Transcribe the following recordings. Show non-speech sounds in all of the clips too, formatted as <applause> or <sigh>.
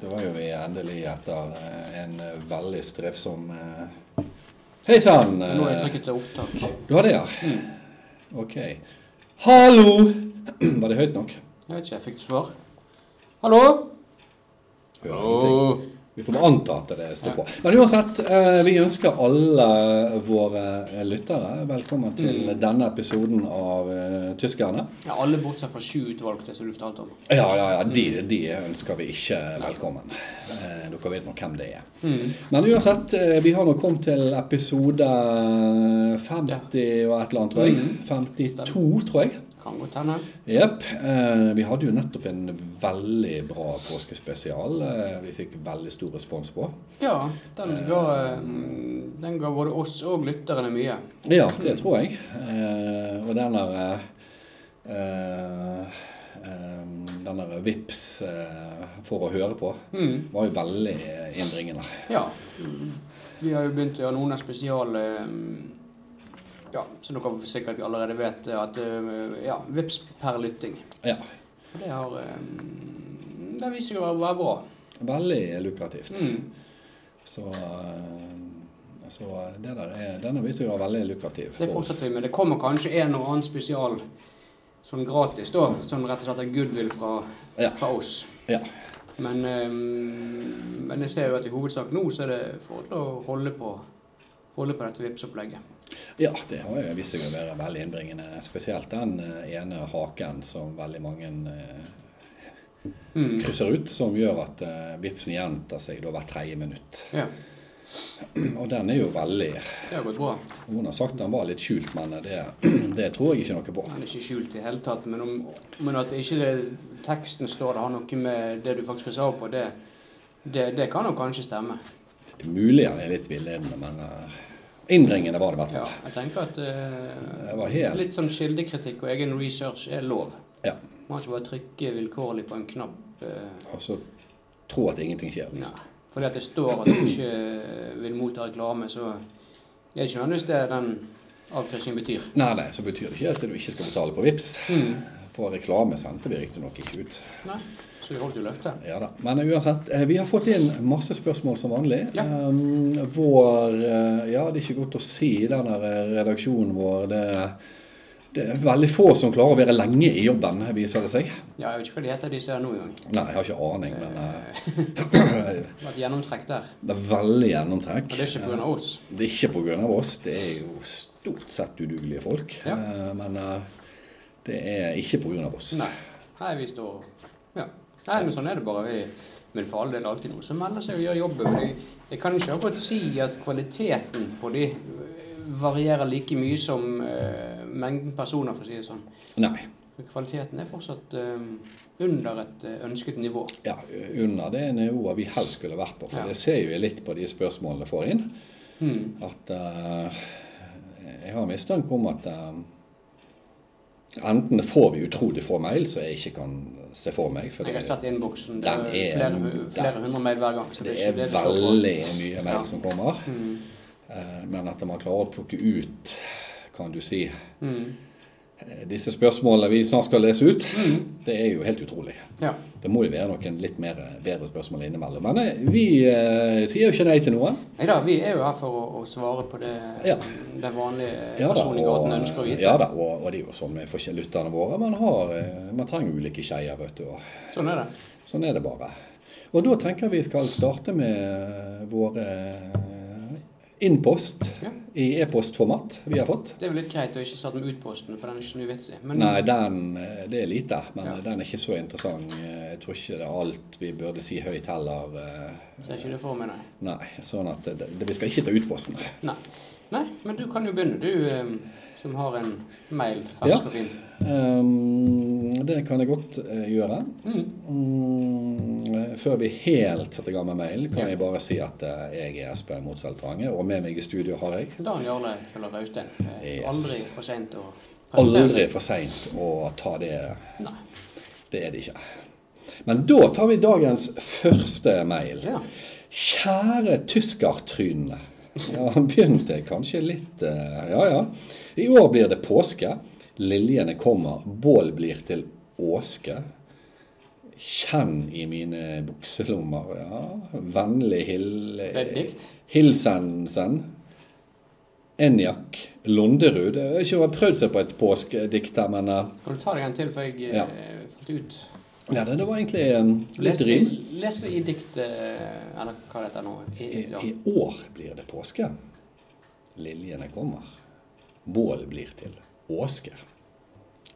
Da var jo vi endelig etter eh, en eh, veldig strevsom eh, Hei sann! eh, Nå har jeg Mm. trykket til opptak. Du har det, ja? Ok. Hallo! <clears throat> Var det høyt nok? Jeg vet ikke, jeg fikk svar. Hallo? Hører ingenting. Hallo? Vi får anta at det står på. Men uansett, eh, vi ønsker alle våre eh, lyttere velkommen til Mm. denne episoden av eh, Tyskerne. Ja, alle bortsett fra sju utvalgte som du fortalte om. Ja, ja, ja, de, de ønsker vi ikke velkommen. Eh, Dere vet nå hvem det er. Mm. Men uansett, eh, vi har nå kommet til episode 50 og et eller annet, tror jeg. 52, tror jeg. Kan godt hende. Jepp. Eh, vi hadde jo nettopp en veldig bra påskespesial. Eh, vi fikk veldig stor respons på. Ja, den ga, eh, mm, den ga både oss og lytterne mye. Ja, det tror jeg. Eh, og den der eh, eh, eh, Den der vips eh, for å høre på Mm. var jo veldig innbringende. Ja. Mm. Vi har jo begynt å gjøre noen spesiale mm, Ja, som dere sikkert allerede vet, eh, at eh, Ja, vips per lytting. Ja. Og det har eh, mm, Det viser seg å være bra. Veldig lukrativt. Mm. Så, eh, så det der er, denne viser jo å være veldig lukrativ. Det for oss. fortsetter vi med. Det kommer kanskje en og annen spesial sånn gratis, da. Sånn rett og slett en goodwill fra, Ja. fra oss. Ja. Men, ehm, men jeg ser jo at i hovedsak nå så er det forhold å holde på, holde på dette Vipps-opplegget. Ja, det har jo vist seg å være veldig innbringende. Spesielt den eh, ene haken som veldig mange eh, Mm. krysser ut, som gjør at eh, vipsen gjentar seg da hvert tredje minutt. Ja, <clears throat> Og den er jo veldig det har gått bra. Hun har sagt den var litt skjult, men eh, det, <clears throat> det tror jeg ikke noe på. Den er ikke skjult i det hele tatt, men, om, men at ikke det, teksten står det har noe med det du faktisk sa på, det, det, det kan jo kanskje stemme. Det er mulig han er litt villedende, men eh, innbringende var det i hvert Ja, fall. jeg tenker at Det eh, var helt litt sånn kildekritikk og egen research er lov. Ja. Man må ikke bare trykke vilkårlig på en knapp. eh, Og så tro at ingenting skjer. nei. Liksom. Fordi at det står at du ikke eh, vil motta reklame, så er det ikke nødvendigvis det den avkryssingen betyr. Nei, nei, så betyr det ikke at du ikke skal betale på Vips. For reklame sendte vi riktignok ikke ut. Nei. Så vi holdt jo løftet. Ja da. Men uansett, eh, vi har fått inn masse spørsmål som vanlig. Ja. Ehm, vår eh, Ja, det er ikke godt å si den der eh, redaksjonen vår. Det, det er veldig få som klarer å være lenge i jobben, viser det seg. Ja, jeg vet ikke hva de heter, de ser nå engang. Nei, jeg har ikke aning, men eh, Det har vært gjennomtrekk der. <clears throat> det er veldig Og gjennomtrekk. det er ikke pga. oss. Det er ikke pga. oss, det er jo stort sett udugelige folk. Ja. Eh, Men eh, det er ikke pga. oss. Nei. Nei, vi står Ja. Nei, men sånn er det bare. Vi, men for all del alltid noen som melder seg og gjør jobben. Men jeg, jeg kan ikke akkurat si at kvaliteten på de øh, varierer like mye som øh, mengden personer, for å si det sånn. Nei. Kvaliteten er fortsatt øh, under et øh, ønsket nivå. ja, under det nivået vi helst skulle vært på. For Ja. det ser jo jeg litt på de spørsmålene jeg får inn. Hmm. At eh, jeg har mistanke om at eh, enten får vi utrolig få mail som jeg ikke kan se for meg. For Jeg har det, sett innboksen. Det Den er er- flere, hu- flere den- hundre mail hver gang. Så det det er er ikke det det står på. veldig mye mail Ja. som kommer. Hmm. eh, Men at man klarer å plukke ut, kan du si, Hmm. eh, disse spørsmålene vi snart skal lese ut, det er jo helt utrolig. Hmm. Ja. Det må jo være noen litt mer, eh, bedre spørsmål innimellom. Men eh, vi eh, sier jo ikke nei til noe. Nei da, vi er jo her for å, å svare på det Ja. den vanlige Ja da, personen i gaten ønsker å vite. Ja da, og, og det er jo sånn med forskjell- lytterne våre. Man, har, eh, man trenger ulike skeier, vet du. Og Sånn er det. sånn er det bare. Og da tenker vi skal starte med våre eh, innpost Ja. i e-postformat vi har fått. Det er vel litt greit å ikke sette med utposten, for den er ikke så mye vits i. Men Nei, den, eh, det er lite, men Ja. eh, den er ikke så interessant. Eh, Jeg tror ikke det er alt vi burde si høyt heller. eh, ser ikke det for meg, nei. Nei, sånn at det, det, vi skal ikke ta ut posten. nei. Nei, men du kan jo begynne, du eh, som har en mail Ja. fersk og fin. Ehm, det kan jeg godt eh, gjøre. Mm. Mm, eh, Før vi helt setter i gang med mailen, kan Ja. jeg bare si at eh, jeg er Espen Motsveld Trange, og med meg i studio har jeg Dan Jarle Kjøller Raustein. Eh, Yes. Aldri for seint å Aldri seg. for seint å ta det. Nei. Det er det ikke. Men da tar vi dagens første mail. Ja. Kjære tyskertrynene. Ja, han begynte kanskje litt eh, Ja, ja. I år blir det påske. Liljene kommer. Bål blir til åske. Kjenn i mine bukselommer. Ja. Vennlig hil... Det er et dikt. Hilsensen. Enjak Londerud. Jeg har ikke prøvd seg på et påskedikt her, men eh, Kan du ta deg en til, for jeg Ja. eh, falt ut? ja, det, det var egentlig eh, litt Leser vi, rim. leser vi i dikt eh, Eller hva dette er nå? I, I, ja. I år blir det påske. Liljene kommer. Bål blir til åske.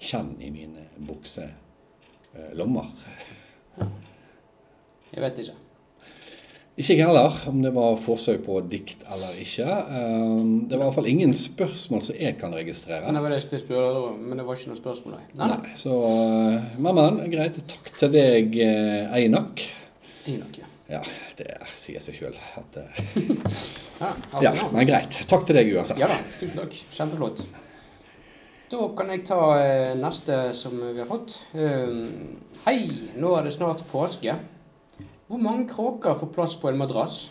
Kjenn i mine bukselommer. Jeg vet ikke. Ikke jeg heller, om det var forsøk på dikt eller ikke. Ehm, Det var i hvert fall ingen spørsmål som jeg kan registrere. Men det var det jeg skulle spørre om, men det var ikke noe spørsmål. Nei, nei. nei. Nei, så eh, Men, men, greit. Takk til deg, eh, Einak. I nok, ja. Ja, det sier seg sjøl at eh, Ja, Ja, alt i orden. men greit. Takk til deg uansett. ja da, tusen takk. Kjempeflott. Da kan jeg ta eh, neste som vi har fått. Um, hei, nå er det snart påske. Hvor mange kråker får plass på en madrass?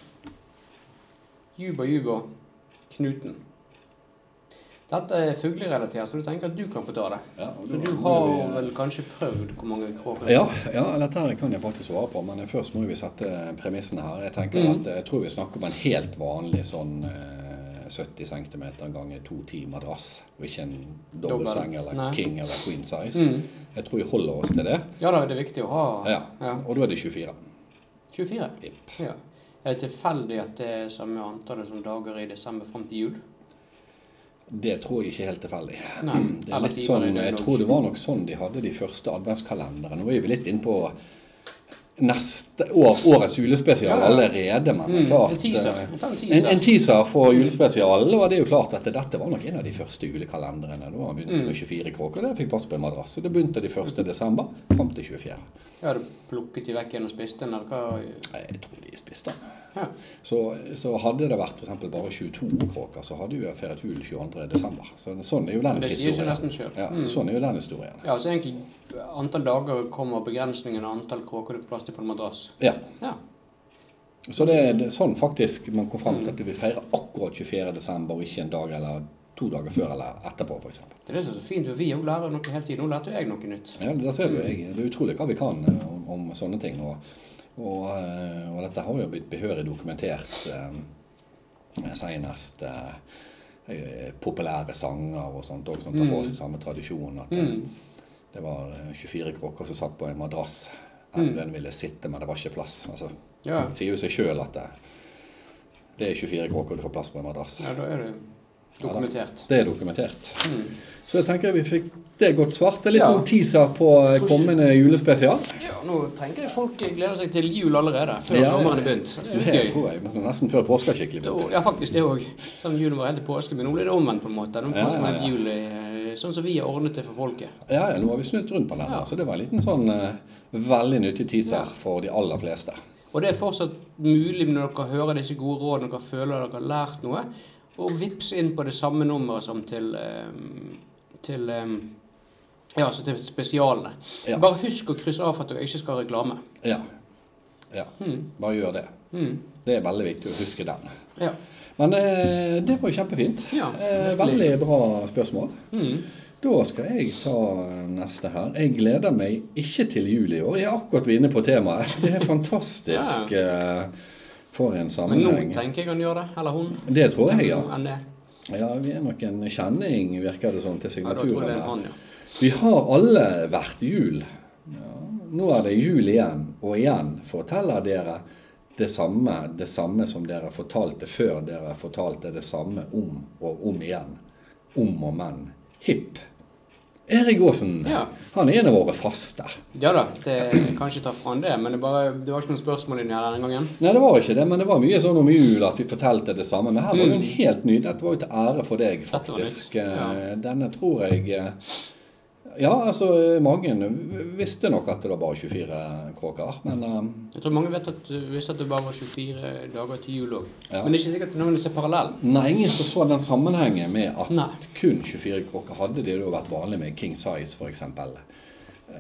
Juba, juba, Knuten. Dette er fuglerelatert, så du tenker at du kan få ta det. Ja, For du har vel kanskje prøvd hvor mange kråker Ja, ja, dette her kan jeg faktisk svare på, men først må vi sette premissene her. Jeg tenker Mhm. at eh, jeg tror vi snakker om en helt vanlig sånn eh, 70 cm ganger 210 madrass, og ikke en Dobbel. dobbeltseng eller Nei. king eller queen size. Mm. Jeg tror vi holder oss til det, Ja da, det er viktig å ha. Ja. Ja. og da er det 24. 24. Jepp. Ja. Er det tilfeldig at det er samme antallet som dager i desember fram til <clears throat> jul? Det tror jeg ikke er helt tilfeldig. Nei. Det er litt sånn, jeg tror det var nok sånn de hadde de første adventskalenderne. Nå er vi litt inne på neste år, årets julespesial Ja, ja. allerede, men det er klart Mm, En teaser. eh, Jeg tar en En, teaser. en teaser for julespesialen var det jo klart at dette var nok en av de første julekalenderne. Da han Mm. begynte med 24 kråker, der fikk plass på en madrass. Og Det begynte de 1. desember fram til 24. Jeg hadde plukket de vekk igjen og spist den, eller hva? Nei, Jeg tror de spiste den. Ja. Så, så hadde det vært for eksempel bare 22 kråker, så hadde jo jeg feiret jul 22. desember. Så sånn er jo Men den det sier seg historien. nesten Mm. sjøl. Ja, så sånn er jo den historien. Ja, så egentlig antall dager kommer av begrensningen av antall kråker du får plass til på en madrass. Ja. Ja. Så det er det- sånn faktisk man kom fram til at vi feirer akkurat 24. desember, og ikke en dag eller to dager før eller etterpå, f.eks. Det er det som er så fint, for vi òg lærer noe hele tiden. Nå lærte jo jeg noe nytt. Ja, der ser du. Jeg, det er utrolig hva vi kan eh, om, om sånne ting. Og, og, eh, og dette har jo blitt behørig dokumentert eh, senest eh, eh, populære sanger og sånt også, som tar for seg samme tradisjon. At eh, Mm. det var eh, 24 kråker som satt på en madrass. Mm. Den ville sitte, men det var ikke plass. Altså, Ja. det sier jo seg sjøl at det, det er 24 kråker du får plass på en madrass. ja, da er det dokumentert. Det er dokumentert. Mm. Så jeg tenker vi fikk det godt svart. Det er litt Ja. sånn teaser på eh, Tror ikke- kommende julespesial. Ja, nå tenker jeg folk gleder seg til jul allerede, før Ja, ja. sommeren er begynt. Det er Det litt gøy. tror jeg. men Nesten før påska skikkelig Da, begynt. ja, faktisk det òg. Sånn julen var helt til påske, men nå blir det omvendt på en måte. Nå Ja, får som ja, helt ja. jul eh, sånn som vi har ordnet det for folket. Ja, ja, nå har vi snudd rundt på den, Ja. her, så det var en liten sånn eh, veldig nyttig teaser for de aller fleste. Og det er fortsatt mulig når dere hører disse gode rådene, dere føler dere har lært noe, å vippse inn på det samme nummeret som til, eh, til eh, ja, altså til spesialene. Ja. Bare husk å krysse av for at dere ikke skal ha reklame. Ja. ja. Mm. Bare gjør det. Mm. Det er veldig viktig å huske den. Ja. Men eh, det var jo kjempefint. Ja, Eh, virkelig. veldig bra spørsmål. Mm. Da skal jeg ta neste her. Jeg gleder meg ikke til jul i år. Jeg er akkurat inne på temaet. Det er fantastisk eh, for en Men nå sammenheng. tenker jeg han gjør det. Eller hun. Det tror jeg, ja. Enn det. Ja, vi er nok en kjenning, virker det sånn, til Ja, da tror jeg det signaturen. er her. en han, ja. Vi har alle vært jul. Ja. Nå er det jul igjen, og igjen forteller dere det samme, det samme som dere fortalte før dere fortalte det samme om og om igjen. Om og men. Hipp. Erik Aasen, Ja. han er en av våre faste. Ja da, det jeg kan ikke ta fra han det, men det, bare, det var ikke noen spørsmål inni her denne gangen. Nei, det var ikke det, men det var mye sånn om jul at vi fortalte det samme. Men her var det jo en helt ny. Dette var jo til ære for deg, Mm. Dette var nytt, faktisk. ja. Eh, Denne tror jeg eh, Ja, altså, eh, mange visste nok at det var bare 24 kråker, men eh, Jeg tror mange vet at, visste at det bare var 24 dager til jul òg. Ja. Men det er ikke sikkert nødvendigvis er parallell. Nei, ingen som så den sammenhengen med at Nei. kun 24 kråker hadde det jo vært vanlig med King Size f.eks.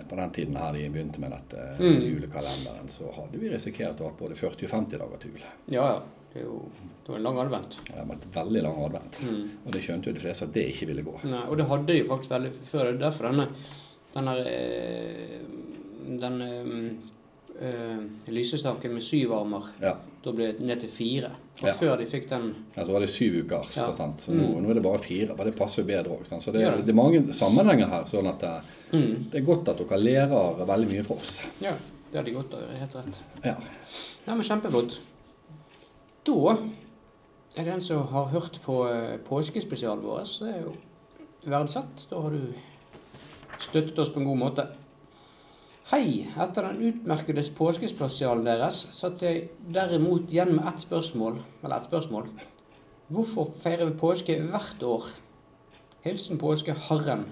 På den tiden her de begynte med dette eh, Mm. julekalenderen, så hadde vi risikert å ha både 40 og 50 dager til jul. Ja, ja. Det er jo det var en lang advent. Det hadde vært veldig lang advent. Mm. Og det skjønte jo de fleste at det ikke ville gå. Nei, og det hadde de jo faktisk veldig før. Det er derfor denne, denne eh, den eh, eh, lysestaken med syv armer. Ja. Da ble det ned til fire. Og Ja. før de fikk den Ja, så Altså, var det syv uker, så, Ja. Mm. sant? så nå, nå er det bare fire. Men det passer jo bedre òg. Så det, Ja. det er mange sammenhenger her. sånn at det, mm, det er godt at dere lærer veldig mye fra oss. Ja, det hadde gått av. Helt rett. Ja. Nei, men kjempeflott. Da er det en som har hørt på eh, påskespesialen vår. så Det er jo verdsatt. Da har du støttet oss på en god måte. Hei! Etter den utmerkede påskespesialen deres satt jeg derimot igjen med ett spørsmål. Eller ett spørsmål. Hvorfor feirer vi påske hvert år? Hilsen påskeharren.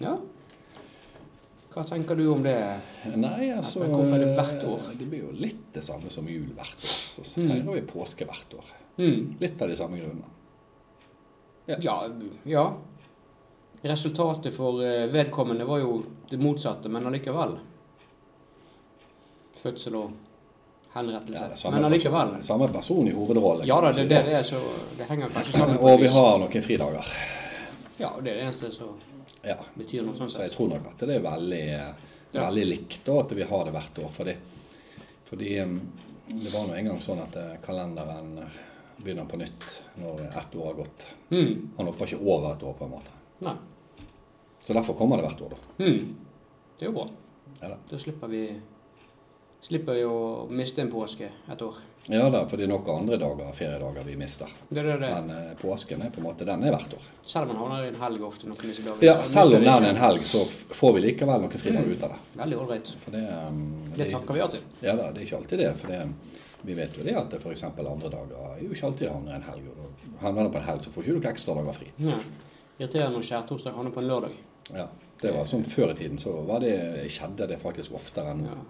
Ja. Hva tenker du om det? Nei, altså Men hvorfor er det hvert år? eh, Det blir jo litt det samme som jul hvert år. Så Mm. feirer vi påske hvert år. Hmm. Litt av de samme grunnene. Ja, ja. Resultatet for eh, vedkommende var jo det motsatte, men allikevel. Fødsel og henrettelse. Ja, det er samme men allikevel. person- Samme person i hovedrollen. Ja da, det, det, det, er så, det henger kanskje sammen på Og et vi vis. har noen fridager. Ja, det er det eneste som Ja. betyr noe sånn Så jeg sett. tror nok at det er veldig, Ja. veldig likt da, at vi har det hvert år. Fordi, fordi um, det var nå en gang sånn at eh, kalenderen eh, begynner på nytt når ett år har gått. Hmm. Han hopper ikke over et år, på en måte. Nei. Så derfor kommer det hvert år, da. Hmm. Det er jo bra. Ja da. Da slipper vi slipper vi å miste en påske et år. Ja da, fordi noen andre dager, feriedager vi mister. Det er det. det. Men eh, påsken er på en måte, den er hvert år. Selv om man havner i en helg ofte noen av disse dagene. Ja, så selv om mister vi den er ikke. en helg, så f- får vi likevel noen fridager ut av det. Veldig ålreit. For det, um, Det takker vi ja til. Ja da, det er ikke alltid det. For det, vi vet jo det at det f.eks. andre dager er jo ikke alltid det havner en helg. og da Havner det på en helg, så får ikke du ikke ekstra dager fri. Nei. Irriterende når skjærtorsdag havner på en lørdag. Ja, det var sånn Før i tiden så var det, skjedde det faktisk oftere enn nå. Ja.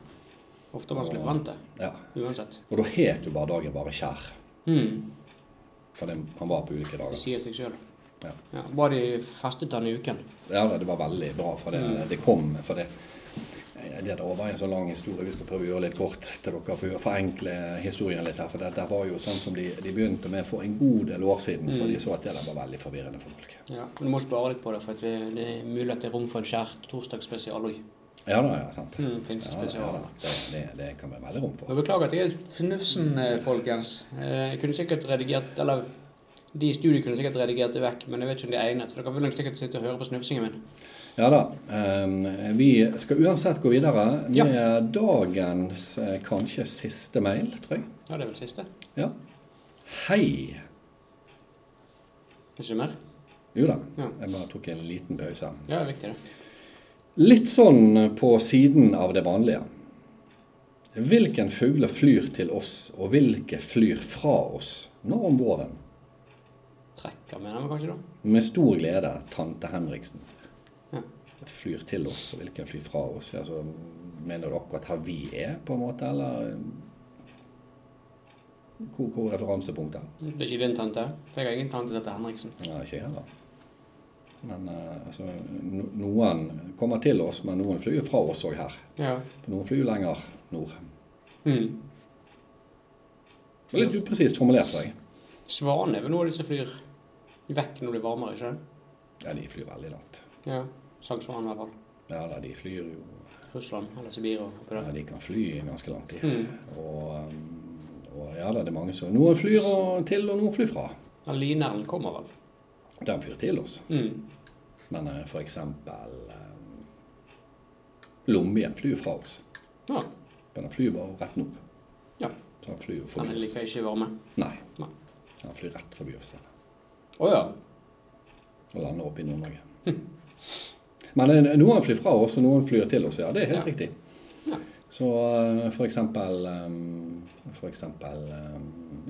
Ofte vanskelig å forvente, Ja. uansett. Og da het jo bare dagen bare Skjær. Mm. Hmm. For det, han var på ulike Det dager. sier seg sjøl. Ja. Ja, bare de festet den i uken. Ja, det var veldig bra, for det, det kom. For det, det der var en så lang historie. Vi skal prøve å gjøre litt kort til dere for å forenkle historien litt her. For dette var jo sånn som de, de begynte med for en god del år siden. For de så at det der var veldig forvirrende for folk. Ja. men Du må spare litt på det, for at det, det er mulig at det er rom for en skjærtorsdagsspesial òg. Ja da, ja, sant. Hmm. Ja, ja, pinsespesial. ja. det, det, det kan vi veldig rom for. Jeg beklager at jeg er fnufsen, eh, folkens. Eh, Jeg kunne sikkert redigert Eller de i studio kunne sikkert redigert det vekk, men jeg vet ikke om de er egnet. For dere vil nok sikkert sitte og høre på snufsingen min. Ja da. eh, vi skal uansett gå videre med Ja. dagens eh, kanskje siste mail, tror jeg. Ja, det er vel siste? Ja. Hei. Ikke mer? Jo da, Ja. jeg bare tok en liten pause. Ja, det er viktig, det. Litt sånn på siden av det vanlige. Hvilken fugler flyr til oss, og hvilke flyr fra oss nå om våren? Trekker, mener vi kanskje, da? Med stor glede, tante Henriksen. Ja. Flyr til oss, og hvilken flyr fra oss? Altså, mener du akkurat her vi er, på en måte, eller Hvor, hvor er referansepunktet? Det er ikke din tante? For jeg har ingen tante som heter Henriksen. Nei, ikke jeg heller. Men eh, altså, no, noen kommer til oss, men noen flyr jo fra oss òg her. Ja. For noen flyr jo lenger nord. Mm. Det var Litt upresist formulert, jeg. Svanen er vel noe av de som flyr vekk når det blir varmere, ikke det? Ja, de flyr veldig langt. Ja. Sangsvanen i hvert fall. Ja da, de flyr jo Russland eller Sibir og oppi ja, der. De kan fly ganske langt, de. Mm. Og, um, og ja da, det er mange som Noen flyr og, til, og noen flyr fra. Ja, Linerlen kommer vel. Den flyr til oss. Mm. Men eh, for eksempel eh, Lombien flyr fra oss. Ja. Men den flyr bare rett nord. Ja. Så han flyr jo Den forbi er oss. likevel ikke varme. Nei. Nei. Han flyr rett forbi oss den, Å ja. og lander opp i Nord-Norge. Men eh, noen flyr fra oss, og noen flyr til oss. Ja, det er helt Ja. riktig. Ja. Så eh, for eksempel eh, For eksempel eh,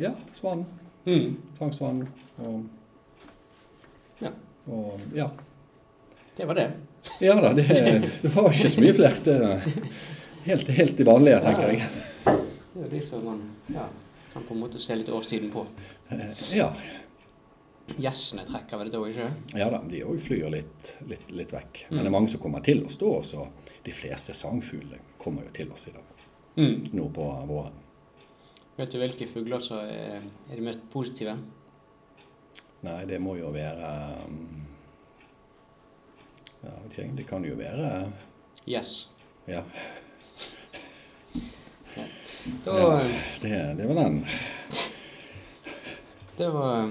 Ja, svanen. Mm. Sangsvanen. Og, Ja. og Ja. Det var det. Ja da, det, det var ikke så mye flere. Det, helt, helt de vanlige, tenker jeg. Det er de som man ja, kan på en måte se litt årstiden på. Eh, Ja, Gjessene trekker vel det òg, ikke sant? ja da, de òg flyr litt, litt, litt vekk. Men det er mange som kommer til oss da. Så de fleste sangfugler kommer jo til oss i dag, Mm. nå på våren. Vet du hvilke fugler som er, er de mest positive? Nei, det mm, må jo være um, ja, jeg vet ikke, Det kan jo være Yes. Ja. Da, Ja. Det, det var den. Det var eh,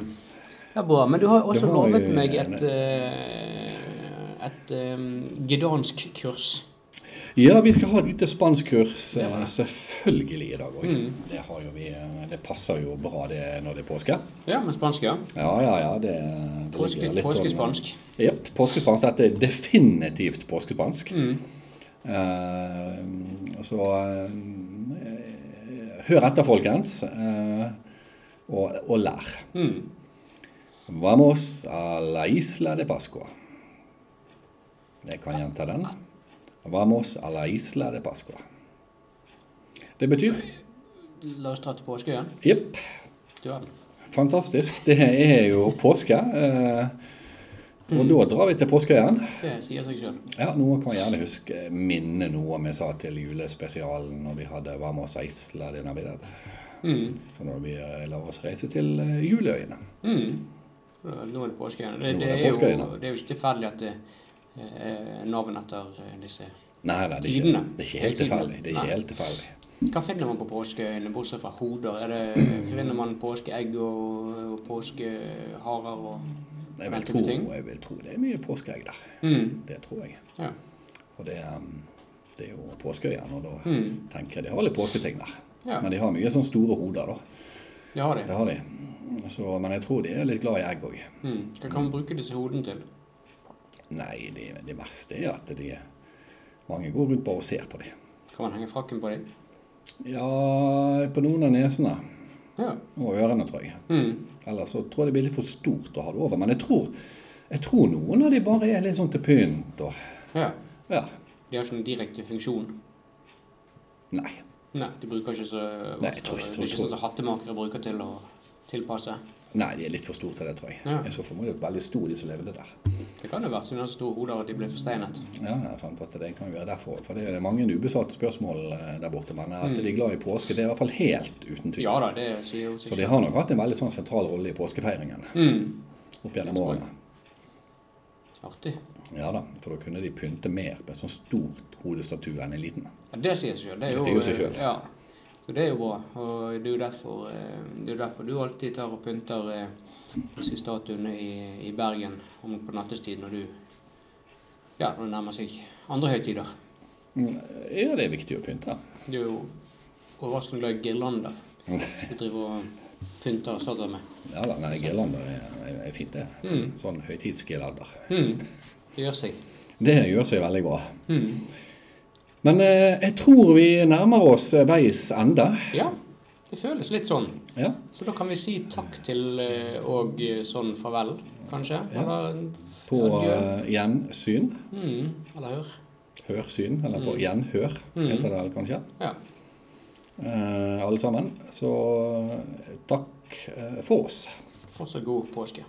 ja, bra. Men du har også Det var jo- lovet meg et, eh, et eh, gedansk kurs. Ja, vi skal ha et lite spanskkurs eh, Ja. selvfølgelig i dag òg. Mm. Det, har jo vi, eh, det passer jo bra det når det er påske. Ja, med spansk, ja. Ja, ja, ja. Det, det Påske, ligger litt sånn, om- påskespansk. Jepp. Påskespansk. Dette er definitivt påskespansk. Mm. Eh, så eh, hør etter, folkens, eh, og, og lær. Mm. Vamos a la isla de Pascua. Jeg kan gjenta den. Vamos a la isla de Pascua. Det betyr La oss dra til påskeøyen. Jepp. Du verden. Fantastisk. Det er jo påske. eh, Mm. Og da drar vi til påskeøyen. Det sier seg sjøl. Ja, noen kan gjerne huske eh, minne noe vi sa til julespesialen når vi hadde Vamos a isla de Navidad. Mm. Så når vi eh, lar oss reise til eh, juleøyene. Mm. Nå er det påskeøyen. Nå Det, er det, det er jo, påskeøyene. det er jo ikke tilfeldig at det er navn etter eh, disse Nei, nei, det er ikke, Tidene. det er ikke helt Tidene. tilfeldig. Det er Nei. ikke helt tilfeldig. Hva finner man på påskeøyene, bortsett fra hoder? Er det, finner man påskeegg og, og påskeharer og Jeg vil, Meldte tro, du ting? jeg vil tro det er mye påskeegg der. mm. Det tror jeg. Ja. Og det, um, det er jo påskeøyene, og da Mm. tenker jeg de har litt påsketing der. ja, Men de har mye sånn store hoder, da. det har Det de. har de. Så, men jeg tror de er litt glad i egg òg. Mm. Hva kan man bruke disse hodene til? Nei, det, det verste er at de Mange går rundt bare og ser på dem. Kan man henge frakken på dem? Ja, på noen av nesene Ja. og ørene, tror jeg. Mm. Ellers så tror jeg det blir litt for stort å ha det over. Men jeg tror, jeg tror noen av de bare er litt sånn til pynt og ja. Ja. De har ikke noen direkte funksjon. Nei. Nei, de bruker ikke så Nei, jeg tror ikke- Det er tror- ikke sånn som hattemakere bruker til å tilpasse. Nei, de er litt for store til det, tror jeg. Ja. I så fall var det veldig stor, de som levde der. Det kan jo være siden de har så store hoder at de blir forsteinet. Ja, jeg fant at det kan jo være derfor. For det er mange ubesvarte spørsmål eh, der borte. Men at de er glad i påske, det er i hvert fall helt uten tvil. Mm. Ja da, det sier jo seg Så de selv. har nok hatt en veldig sånn sentral rolle i påskefeiringen Mm. opp gjennom Jeg tror årene. Artig. Ja da, for da kunne de pynte mer på en sånn stort hodestatue enn en liten. Ja, det sier seg selv. Det, er Det jo- eh, sier jo seg selv. Ja. Så det er jo bra. Og det er jo derfor, eh, det er jo derfor du alltid tar og pynter eh, disse statuene i, i Bergen om på nattestid når du ja, når det nærmer seg andre høytider. Mm, Ja, det er viktig å pynte. Du er jo overraskende glad i girlander. Mm. Du driver og pynter og starter med. Ja da, nei, girlander er, eh, er- er fint, det. Mm. Sånn høytidsgirlander. Mm. Det gjør seg. Det gjør seg veldig bra. Mm. Men eh, jeg tror vi nærmer oss eh, veis ende. Ja, det føles litt sånn. Ja. Så da kan vi si takk til eh, og eh, sånn farvel, kanskje? Ja. Eller en På adjø. eh, gjensyn. Mm, eller hør. Hørsyn, eller på Mm. gjenhør, Mm. heter det vel kanskje. Ja. Eh, alle sammen. Så eh, takk eh, for oss. Og så god påske.